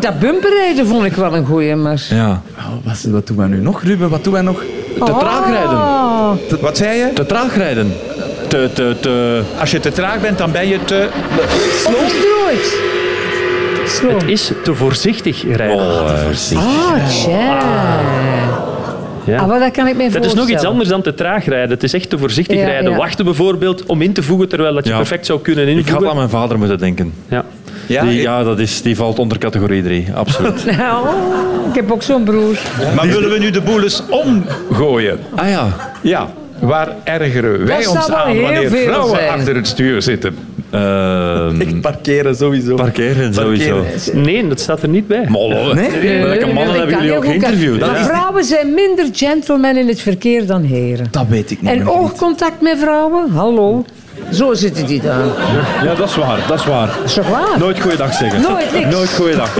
S4: Dat bumperrijden vond ik wel een goeie, maar...
S3: ja.
S5: Oh, wat, wat doen wij nu nog, Ruben? Wat doen wij nog?
S4: Te
S3: traag rijden.
S2: Wat zei je?
S3: Te traag rijden. Te, te, te...
S2: Als je te traag bent, dan ben je te...
S4: Ontroerd. Slow.
S9: het is te voorzichtig rijden.
S3: Oh. eh.
S4: Ah, tja.
S9: Ja.
S4: Ah, maar dat kan ik me
S9: Dat is nog iets anders dan te traag rijden. Het is echt te voorzichtig
S4: Ja,
S9: rijden.
S4: ja.
S9: Wachten bijvoorbeeld om in te voegen, terwijl dat je
S3: Ja.
S9: perfect zou kunnen
S3: Ik had
S9: invoegen.
S3: aan mijn vader moeten denken.
S9: ja.
S3: Ja,
S2: Ja,
S3: die,
S2: ik-
S3: ja dat is, die valt onder categorie 3, absoluut.
S4: Oh, ik heb ook zo'n broer.
S2: Maar willen we nu de boel eens omgooien?
S3: ah ja,
S2: Ja. Waar ergeren wij
S4: Dat
S2: ons
S4: zou wel
S2: aan
S4: heel
S2: wanneer
S4: veel
S2: vrouwen
S4: zijn.
S2: achter het stuur zitten?
S3: Ehm,
S5: Echt parkeren sowieso.
S3: parkeren sowieso.
S9: Nee, dat staat er niet bij.
S3: Mol,
S5: Nee?
S3: nee, welke mannen hebben jullie ook geïnterviewd?
S4: Maar
S3: hè?
S4: vrouwen zijn minder gentlemen in het verkeer dan heren.
S5: Dat weet ik nog
S4: En
S5: niet.
S4: oogcontact met vrouwen, hallo. Zo zitten die daar.
S3: Ja, dat is waar, dat is waar.
S4: Is toch waar?
S3: Nooit goeiedag zeggen.
S4: Nooit niks.
S3: Nooit goeiedag.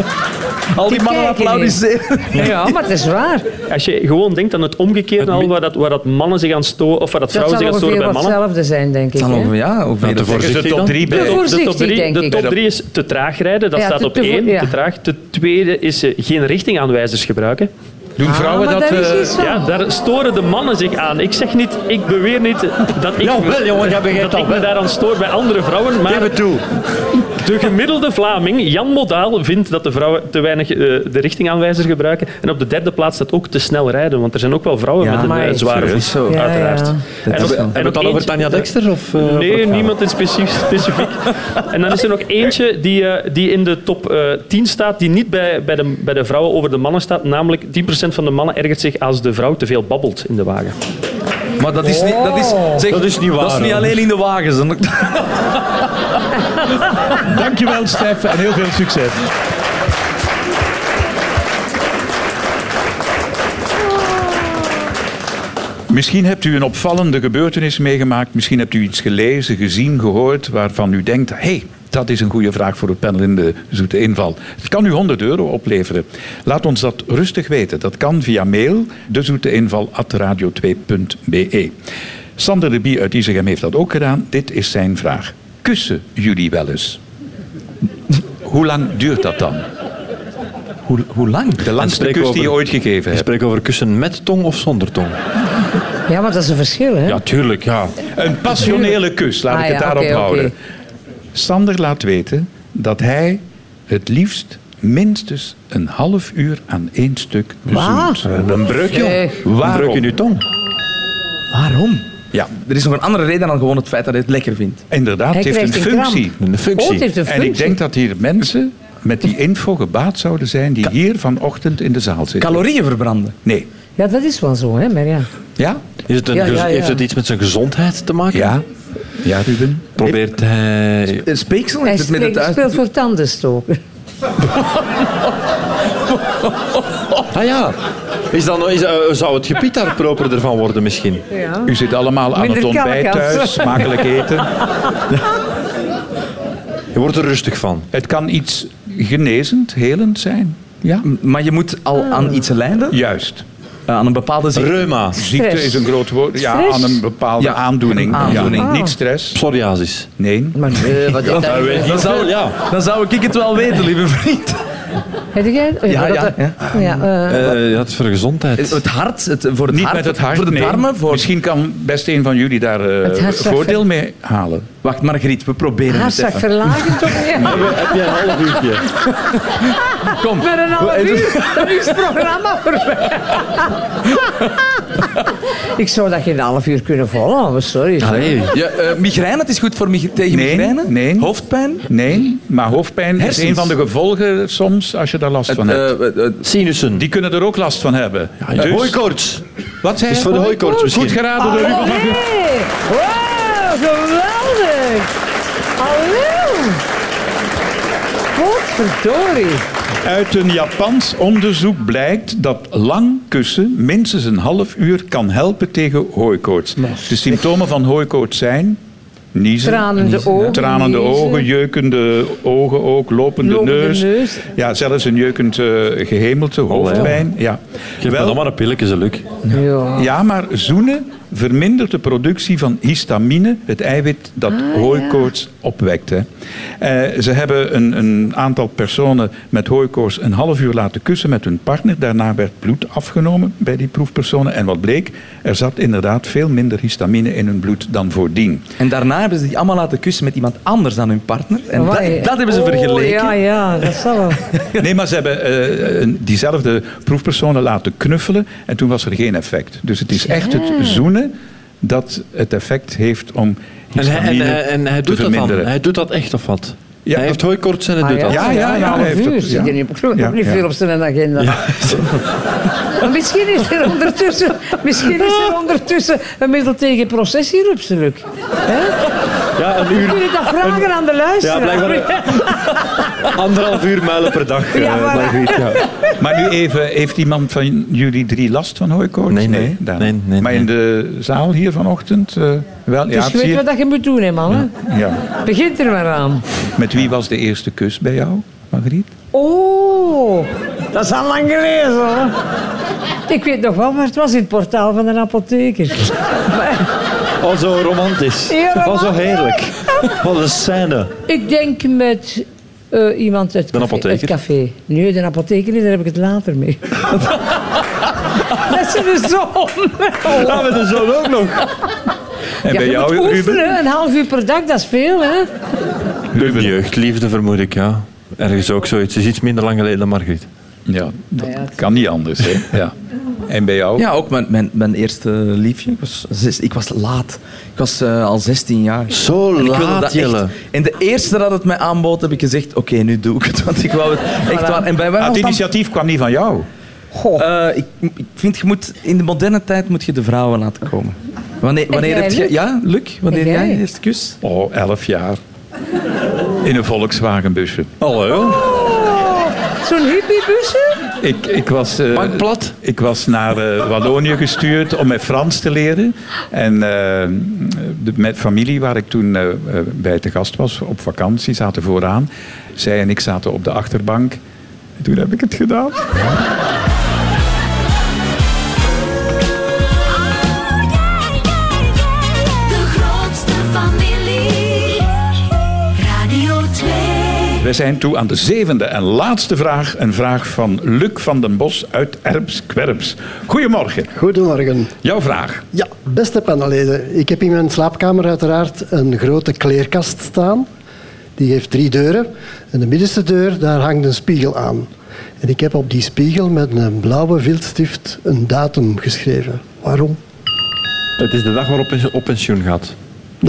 S5: Al die
S4: die
S5: mannen
S4: kijken
S5: applaudisseren.
S4: Ja, maar het is waar.
S9: Als je gewoon denkt aan het omgekeerde al, waar dat, waar dat mannen zich aan storen, of waar dat
S4: Dat zal
S9: vrouwen zich aan
S4: ongeveer
S9: storen bij
S4: wat
S9: mannen.
S4: hetzelfde zijn, denk ik.
S5: Dan
S4: hè.
S5: over, ja, over
S3: te voorzichtig
S2: Zeggen ze
S3: dan?
S2: top drie bij.
S4: De
S9: De top,
S4: voorzichtig,
S9: drie,
S4: denk
S9: de
S4: ik.
S9: top drie is te traag rijden, dat
S4: Ja,
S9: staat
S4: te-
S9: op
S4: te-
S9: één,
S4: ja.
S9: te traag. De tweede is eh, geen richtingaanwijzers gebruiken.
S2: Doen vrouwen
S4: Ah, maar
S2: dat...
S4: daar is
S2: eh,
S4: iets van.
S9: Ja, daar storen de mannen zich aan. Ik zeg niet, ik beweer niet dat ik,
S3: Jawel, jongen, jij begrijpt
S9: dat
S3: dat
S9: ik me
S3: wel.
S9: daaraan stoor bij andere vrouwen, maar
S3: Geef het toe.
S9: de gemiddelde Vlaming, Jan Modaal, vindt dat de vrouwen te weinig eh, de richtingaanwijzer gebruiken. En op de derde plaats staat ook te snel rijden, want er zijn ook wel vrouwen
S5: Ja,
S9: met een
S5: maar
S9: eh, zware
S5: serieus?
S9: voet,
S5: Zo.
S4: Ja,
S9: uiteraard.
S4: ja.
S9: En op- en
S3: Hebben we
S9: op
S3: het dan over
S9: eentje-
S3: Tanja Dexter? Of, eh, over
S9: Nee,
S3: het
S9: niemand in specif- specifiek. En dan is er nog eentje die, eh, die in de top eh 10 staat, die niet bij, bij, de, bij de vrouwen over de mannen staat. Namelijk 10% van de mannen ergert zich als de vrouw te veel babbelt in de wagen.
S5: Maar dat is niet... Dat is, zeg,
S3: Dat is niet waar,
S5: Dat is niet
S3: hoor.
S5: alleen in de wagens. Dan-
S3: Dankjewel, Stef, en heel veel succes.
S2: Misschien hebt u een opvallende gebeurtenis meegemaakt. Misschien hebt u iets gelezen, gezien, gehoord waarvan u denkt: hé, hey, dat is een goede vraag voor het panel in de zoete inval. Het kan u 100 euro opleveren. Laat ons dat rustig weten. Dat kan via mail dezoeteinval@radio2.be. Sander de Bie uit Isegem heeft dat ook gedaan. Dit is zijn vraag. Kussen jullie wel eens? Hoe lang duurt dat dan?
S5: Hoe, hoe lang?
S2: De langste
S3: spreken we
S2: kus die je
S3: over-
S2: ooit gegeven
S3: We
S2: hebt.
S3: spreken over kussen met tong of zonder tong.
S4: Ja, maar dat is een verschil, hè?
S3: Ja, tuurlijk, ja.
S2: Een passionele kus, laat
S4: Ah,
S2: ik het
S4: ja,
S2: daarop
S4: oké, oké.
S2: houden. Sander laat weten dat hij het liefst minstens een half uur aan één stuk
S4: Waar?
S2: zoent. Een breukje?
S4: Zeg.
S3: Waarom?
S2: Waarom?
S3: Breuk in uw tong.
S5: Waarom?
S2: Ja,
S5: Er is nog een andere reden dan gewoon het feit dat hij het lekker vindt.
S2: inderdaad,
S4: Hij
S2: het heeft
S4: krijgt
S2: een
S4: een kramp.
S2: functie.
S3: Een
S4: Oh, het
S3: functie.
S4: heeft een
S2: En
S4: functie.
S2: ik denk dat hier mensen met die info gebaat zouden zijn die hier vanochtend in de zaal zitten.
S5: Calorieën verbranden.
S2: Nee.
S4: Ja, dat is wel zo, hè, maar ja.
S2: Ja?
S3: Is het een
S4: Ja, ja,
S3: gez-
S4: ja.
S3: Heeft het iets met zijn gezondheid te maken?
S2: Ja? Ja, Ruben?
S3: Probeert hij...
S5: Eh, Speeksel
S4: Hij
S5: heeft het met het
S4: spreekt-
S5: uit.
S4: speelt voor tandenstoker.
S3: Ah ja. Is dan, is, eh, zou het gebied daar properder van worden misschien?
S4: Ja.
S2: U zit allemaal
S4: Ah.
S2: aan
S4: Minder
S2: het ontbijt
S4: kalkans.
S2: thuis, smakelijk eten.
S3: Je wordt er rustig van.
S2: Het kan iets genezend, helend zijn. Ja?
S5: Maar je moet al
S4: Ah.
S5: aan iets lijden.
S2: Juist.
S5: Eh, aan een bepaalde ziekte.
S3: Reuma.
S2: Ziekte
S4: Stress.
S2: is een groot woord. Ja,
S4: Stress.
S2: aan een bepaalde
S5: Ja,
S2: aandoening.
S5: een aandoening.
S2: Ja, Niet stress.
S3: Psoriasis.
S2: Nee.
S4: Maar nee, wat is dat?
S3: weet
S5: Dan zou,
S3: ja.
S5: dan zou ik het wel weten, lieve vriend.
S4: Heb jij? oh,
S5: Ja,
S4: dat-
S5: ja,
S4: ja. eh,
S3: Eh, ja, het is voor de gezondheid.
S5: Het hart, het, voor het
S2: Niet
S5: hart,
S2: met het hart.
S5: voor de
S2: nee.
S5: darmen. Voor...
S2: Misschien kan best een van jullie daar eh,
S4: Het hartslag-
S2: voordeel mee halen.
S5: Wacht, Margriet, we proberen het
S4: Hartslag
S5: even.
S4: verlagen toch niet?
S3: Heb jij een half uurtje?
S5: Kom.
S4: Met een half
S5: We-
S4: uur, dat is het programma voor mij. Ik zou dat geen half uur kunnen volhouden, sorry.
S3: Allee.
S5: Ja, eh, migraine, het is goed voor mig- tegen
S2: Nee,
S5: migraine.
S2: nee.
S5: Hoofdpijn.
S2: Nee, maar hoofdpijn is
S5: Hersens.
S2: een van de gevolgen soms als je daar last van hebt.
S5: Eh, eh, eh,
S3: Sinussen.
S2: Die kunnen er ook last van hebben.
S3: Eh,
S2: Dus-
S3: hooikoorts.
S2: wat zei
S3: Is
S2: je?
S3: voor de hooikoorts misschien.
S2: Goed geraden
S5: Ah.
S2: door Ruben.
S4: Allee! Wauw, geweldig! Allee! Godverdorie.
S2: Uit een Japans onderzoek blijkt dat lang kussen minstens een half uur kan helpen tegen hooikoorts. De symptomen van hooikoorts zijn niezen,
S4: Tranende ogen,
S2: tranende
S4: niezen.
S2: ogen, jeukende ogen ook, lopende,
S4: Lopende
S2: neus.
S4: neus.
S2: Ja, zelfs een jeukend eh, gehemelte, hoofdpijn. Ja.
S3: Geef me
S2: Wel-
S3: dan maar Ah, een pilletje, ze luk. Ah.
S4: Ja.
S2: ja, maar zoenen vermindert de productie van histamine, het eiwit dat
S3: Ah,
S2: hooikoorts opwekt. Hè. Eh, ze hebben een, een aantal personen met hooikoorts een half uur laten kussen met hun partner. Daarna werd bloed afgenomen bij die proefpersonen. En wat bleek? Er zat inderdaad veel minder histamine in hun bloed dan voordien.
S5: En daarna hebben ze die allemaal laten kussen met iemand anders dan hun partner. En
S4: Amai.
S5: dat, dat hebben ze
S4: Oh,
S5: vergeleken.
S4: Ja, ja, dat zal wel.
S2: Nee, maar ze hebben eh, een- diezelfde proefpersonen laten knuffelen en toen was er geen effect. Dus het is echt het zoenen dat het effect heeft om
S3: En hij, en,
S2: histamine
S3: hij- en hij
S2: te
S3: doet dat dan.
S2: verminderen.
S3: Hij doet dat echt of wat?
S2: Ja,
S3: hij heeft hooikoorts en hij
S4: Ah,
S3: doet dat.
S2: Ja, ja,
S4: een
S2: ja,
S4: half
S2: hij heeft
S4: uur
S2: het,
S4: zit
S2: ja.
S4: er niet op. dus. Ik geloof
S2: Ja,
S4: ook niet
S2: ja.
S4: veel op zijn agenda. Maar misschien is er ondertussen, misschien is er ondertussen een middel tegen processierupsdruk. Hè?
S3: Ja, een uur.
S4: Kun je dat vragen aan de
S3: Ja,
S4: luisteraar?
S3: blijkbaar anderhalf uur muilen per dag. eh,
S4: Ja, voilà.
S3: Margriet, ja.
S2: Maar nu even, heeft iemand van jullie drie last van hooikoorts?
S3: Nee, nee.
S2: Daan.
S3: Nee, nee,
S2: maar in
S3: nee.
S2: de zaal hier vanochtend? eh, wel, ja,
S4: Dus je weet
S2: zie je.
S4: wat dat je moet doen, hè, man. hè?
S2: Ja.
S4: Begint er maar aan.
S2: Met wie was de eerste kus bij jou, Margriet?
S4: Oh, dat is al lang geleden, hoor. Ik weet nog wel waar het was, in het portaal van de apotheker.
S3: Oh, zo romantisch.
S4: Ja, romantisch.
S3: Oh, zo heerlijk. Wat een scène.
S4: Ik denk met eh, iemand uit café-
S3: apotheker?
S4: het café. Nee, de apotheker niet, daar heb ik het later mee. dat is de zon.
S3: Ja, met de zon ook nog.
S2: En bij
S4: je moet
S2: jou, Ruben?
S4: oefenen, een half uur per dag, dat is veel, hè.
S3: Jeugdliefde vermoed ik, ja. Ergens ook zoiets. Het is iets minder lang geleden dan Margriet.
S2: Ja, dat
S4: ja, het-
S2: kan niet anders. Hè? Ja. En bij jou? Ah,
S5: Ja, ook mijn, mijn, mijn eerste liefje. Ik was, zes- ik was laat. Ik was eh, al 16 jaar.
S3: Zo
S5: En ik wilde
S3: laat,
S5: dat
S3: Jelle.
S5: echt- En de eerste dat het mij aanbood, heb ik gezegd: Oké, nu doe ik het. Want ik wou het echt waar. En bij mij
S2: Ah,
S5: was
S2: het
S5: dan-
S2: initiatief kwam niet van jou.
S5: Eh, ik, ik vind, je moet, in de moderne tijd moet je de vrouwen laten komen. Wanneer, wanneer
S4: jij,
S5: heb je.
S4: Luc?
S5: Ja, Luc, wanneer
S4: En jij?
S5: jij je eerste kus?
S2: Oh, elf jaar. In een Volkswagenbusje.
S3: Hallo.
S4: Zo'n hippiebusje?
S2: Ik, ik was... eh,
S7: Bank plat.
S2: Ik was naar eh, Wallonië gestuurd om mij Frans te leren. En eh, de, met familie waar ik toen eh, eh, bij te gast was, op vakantie, zaten vooraan. Zij en ik zaten op de achterbank. En toen heb ik het gedaan.
S6: De grootste familie. Radio 2.
S2: Wij zijn toe aan de zevende en laatste vraag. Een vraag van Luc van den Bos uit Erps-Kwerps. Goedemorgen.
S10: Goedemorgen.
S2: Jouw vraag.
S10: Ja, beste panelleden. Ik heb in mijn slaapkamer uiteraard een grote kleerkast staan. Die heeft drie deuren. En de middenste deur, daar hangt een spiegel aan. En ik heb op die spiegel met een blauwe viltstift een datum geschreven. Waarom?
S3: Het is de dag waarop je op pensioen gaat.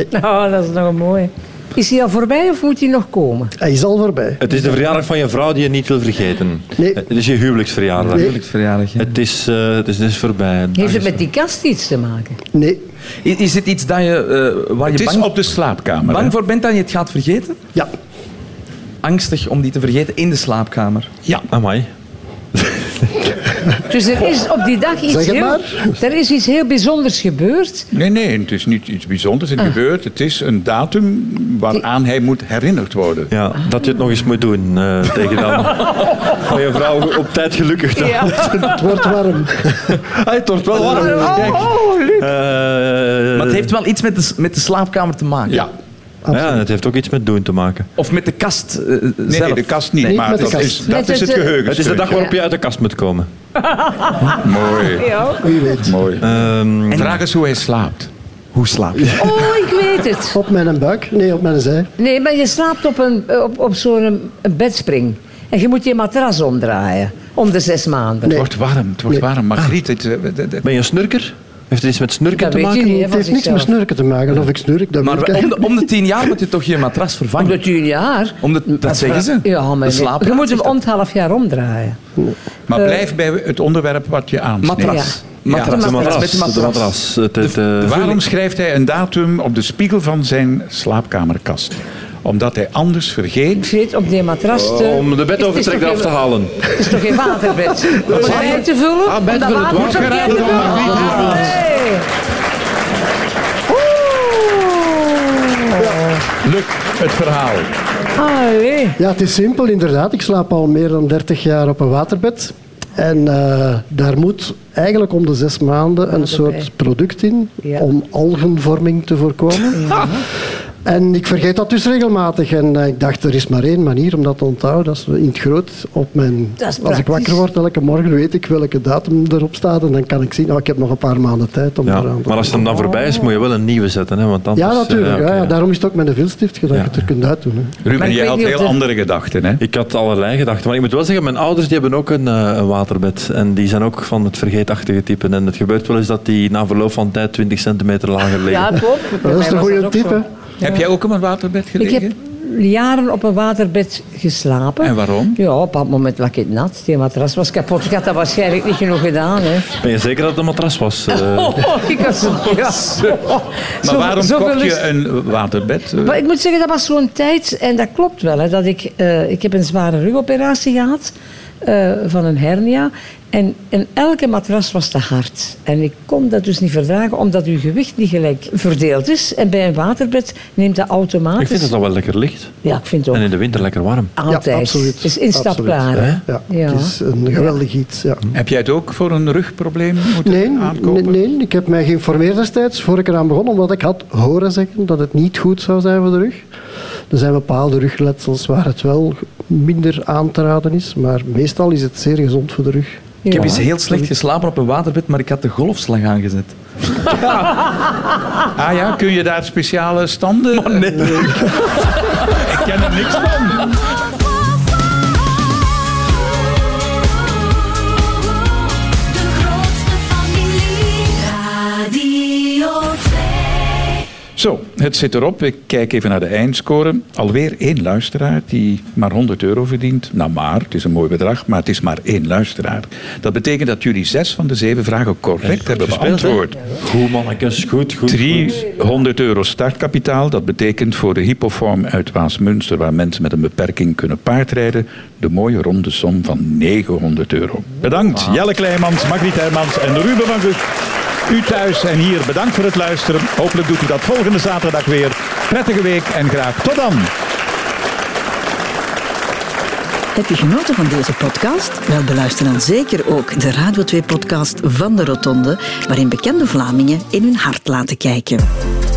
S4: Nou, dat is nog een mooie. Is hij al voorbij of moet hij nog komen?
S2: Ah,
S10: Hij is al voorbij.
S3: Het is de verjaardag van je vrouw die je niet wil vergeten.
S10: Nee.
S3: Het is je huwelijksverjaardag.
S10: Nee.
S5: Huwelijksverjaardag. hè.
S3: Het, is, eh, het, is, het is voorbij.
S4: Heeft het met die kast iets te maken?
S10: Nee.
S5: Is, is het iets dat je, eh, waar
S2: Het
S5: je
S2: is
S5: bang,
S2: op de slaapkamer. hè?
S5: bang voor bent dat je het gaat vergeten?
S10: Ja.
S5: Angstig om die te vergeten in de slaapkamer.
S3: Ja. Amai.
S4: Dus er is op die dag iets,
S10: Zeg het
S4: heel,
S10: maar.
S4: er is iets heel bijzonders gebeurd.
S2: Nee, nee, het is niet iets bijzonders.
S5: Ah.
S2: Het gebeurt. Het is een datum waaraan hij moet herinnerd worden.
S3: Ja, dat je het nog eens moet doen eh, tegen dan. Van je vrouw op tijd gelukkig te houden.
S10: Het wordt warm.
S3: Ah, het wordt wel warm. Kijk. Eh,
S5: Maar het heeft wel iets met de, s- met de slaapkamer te maken.
S2: Ja.
S3: ja, het heeft ook iets met doen te maken.
S5: Of met de kast eh,
S2: Nee,
S5: zelf.
S2: nee, de kast niet.
S10: Nee,
S2: maar
S10: met de
S2: dat,
S10: kast.
S2: Is, dat
S4: Met
S2: is
S4: het,
S2: het
S4: eh,
S2: geheugen.
S3: Het is de dag waarop je uit de kast moet komen.
S2: Mooi,
S10: Wie weet.
S2: mooi.
S3: Ehm,
S2: Vraag eens hoe hij slaapt.
S5: Hoe slaap je?
S4: Oh, ik weet het.
S10: Op mijn buik. Nee, op mijn zij.
S4: Nee, maar je slaapt op, een- eh, op, op zo'n een bedspring. En je moet je matras omdraaien. Om de zes maanden.
S2: Het
S10: Nee.
S2: wordt warm, het wordt warm.
S4: Ah.
S2: Margriet, het, eh, de- de-
S3: ben je een snurker? Heeft het iets met snurken
S4: Dat
S3: te
S4: weet
S3: maken?
S4: je niet, hè,
S10: Het
S4: van
S10: heeft niks met
S4: zichzelf.
S10: snurken te maken. Of ik snurk, dat
S5: Maar
S10: moet ik
S5: om de,
S10: eigenlijk-
S5: om de tien jaar moet je toch je matras
S4: Om de
S5: vervangen?
S4: tien jaar.
S5: Om de, dat zeggen ze.
S4: Ja, maar
S5: de slaap.
S4: je moet hem om het half jaar omdraaien. Eh,
S2: maar blijf bij het onderwerp wat je aansneedt.
S5: Matras.
S4: Ja.
S5: Matras.
S4: De matras.
S5: Met de matras.
S3: De matras. Het, het, eh,
S2: Waarom schrijft hij een datum op de spiegel van zijn slaapkamerkast? Omdat hij anders
S4: Ik
S2: vergeet.
S4: zit op die matras te...
S3: Oh, om de
S4: Het
S3: bedovertrek
S4: is toch
S3: eraf te
S4: geen-
S3: halen.
S4: Het is toch geen waterbed? Om het bij te vullen?
S3: Ah,
S4: om
S3: bij te
S4: dat
S3: vullen,
S4: water
S3: het wordt
S4: te
S3: geraden
S4: vullen.
S3: door Margriet Hermans.
S4: Nee. Oeh.
S2: Lukt het verhaal.
S4: Allee.
S10: Ja, het is simpel, inderdaad. Ik slaap al meer dan 30 jaar op een waterbed. En eh, daar moet eigenlijk om de zes maanden een soort product in
S4: Ja.
S10: om algenvorming te voorkomen. En ik vergeet dat dus regelmatig. En eh, ik dacht, er is maar één manier om dat te onthouden. Dat is in het groot op mijn.
S4: Dat is
S10: Als ik
S4: praktisch.
S10: wakker word elke morgen, weet ik welke datum erop staat. En dan kan ik zien, nou, ik heb nog een paar maanden tijd om
S3: Ja,
S10: eraan te
S3: maar als het hem dan voorbij is, moet je wel een nieuwe zetten. Hè, want anders,
S10: Ja, natuurlijk.
S3: eh, oké,
S10: ja, ja.
S3: ja.
S10: Daarom is het ook met een vilstift gedaan, dat je het er kunt uitdoen. Hè.
S4: Maar
S2: Ruben,
S4: ik
S2: jij
S4: weet
S2: had
S4: niet of
S2: heel
S4: de-
S2: andere gedachten, hè?
S3: Ik had allerlei gedachten. Maar ik moet wel zeggen, mijn ouders die hebben ook een, eh, een waterbed. En die zijn ook van het vergeetachtige type. En het gebeurt wel eens dat die na verloop van tijd 20 centimeter lager liggen.
S4: Ja, top.
S10: Maar dat is een goede tip, hè?
S2: Heb jij ook op een waterbed
S4: Ik
S2: gelegen?
S4: heb jaren op een waterbed geslapen.
S2: En waarom?
S4: Ja, op dat moment lag ik nat. Die matras was kapot. Ik had dat waarschijnlijk niet genoeg gedaan. Hè.
S3: Ben je zeker dat het een matras was? Eh,
S4: Oh, ik was... Ja.
S2: Maar
S4: Zo-
S2: waarom
S4: zoveel
S2: kocht
S4: lust-
S2: je een waterbed? Eh,
S4: Maar ik moet zeggen, dat was zo'n tijd, en dat klopt wel, hè, dat ik, eh, ik heb een zware rugoperatie gehad eh, van een hernia. En, en elke matras was te hard. En ik kon dat dus niet verdragen, omdat uw gewicht niet gelijk verdeeld is. En bij een waterbed neemt dat automatisch...
S3: ik vind het al wel lekker licht.
S4: Ja, ik vind het
S3: En
S4: ook.
S3: in de winter lekker warm.
S4: Altijd.
S10: Ja, absoluut.
S4: Het is
S10: Absoluut.
S4: instapklaar. hè.
S10: Ja,
S4: Ja.
S10: Het is een geweldig iets. Ja.
S2: Heb jij het ook voor een rugprobleem moeten
S10: Nee, nee,
S2: aankopen?
S10: nee, ik heb mij geïnformeerd destijds, voor ik eraan begon, omdat ik had horen zeggen dat het niet goed zou zijn voor de rug. Er zijn bepaalde rugletsels waar het wel minder aan te raden is, maar meestal is het zeer gezond voor de rug.
S5: Ik heb
S4: Ja.
S5: eens heel slecht geslapen op een waterbed, maar ik had de golfslag aangezet.
S2: Ah ja, kun je daar speciale standen? Ik ken er niks van.
S6: De grootste familie. Radio 2.
S2: Zo, het zit erop. Ik kijk even naar de eindscore. Alweer één luisteraar die maar 100 euro verdient. Nou maar, het is een mooi bedrag, maar het is maar één luisteraar. Dat betekent dat jullie zes van de zeven vragen correct hebben beantwoord.
S3: Goed mannetjes, goed, goed.
S2: 300 euro startkapitaal. Dat betekent voor de Hippoform uit Waasmunster, waar mensen met een beperking kunnen paardrijden, de mooie ronde som van 900 euro. Bedankt Jelle Kleijmans, Margriet Hermans en Ruben van Gucht. U thuis en hier bedankt voor het luisteren. Hopelijk doet u dat volgende zaterdag weer. Prettige week en graag tot dan.
S11: Heb je genoten van deze podcast? Wel, beluister dan zeker ook de Radio 2-podcast van de Rotonde, waarin bekende Vlamingen in hun hart laten kijken.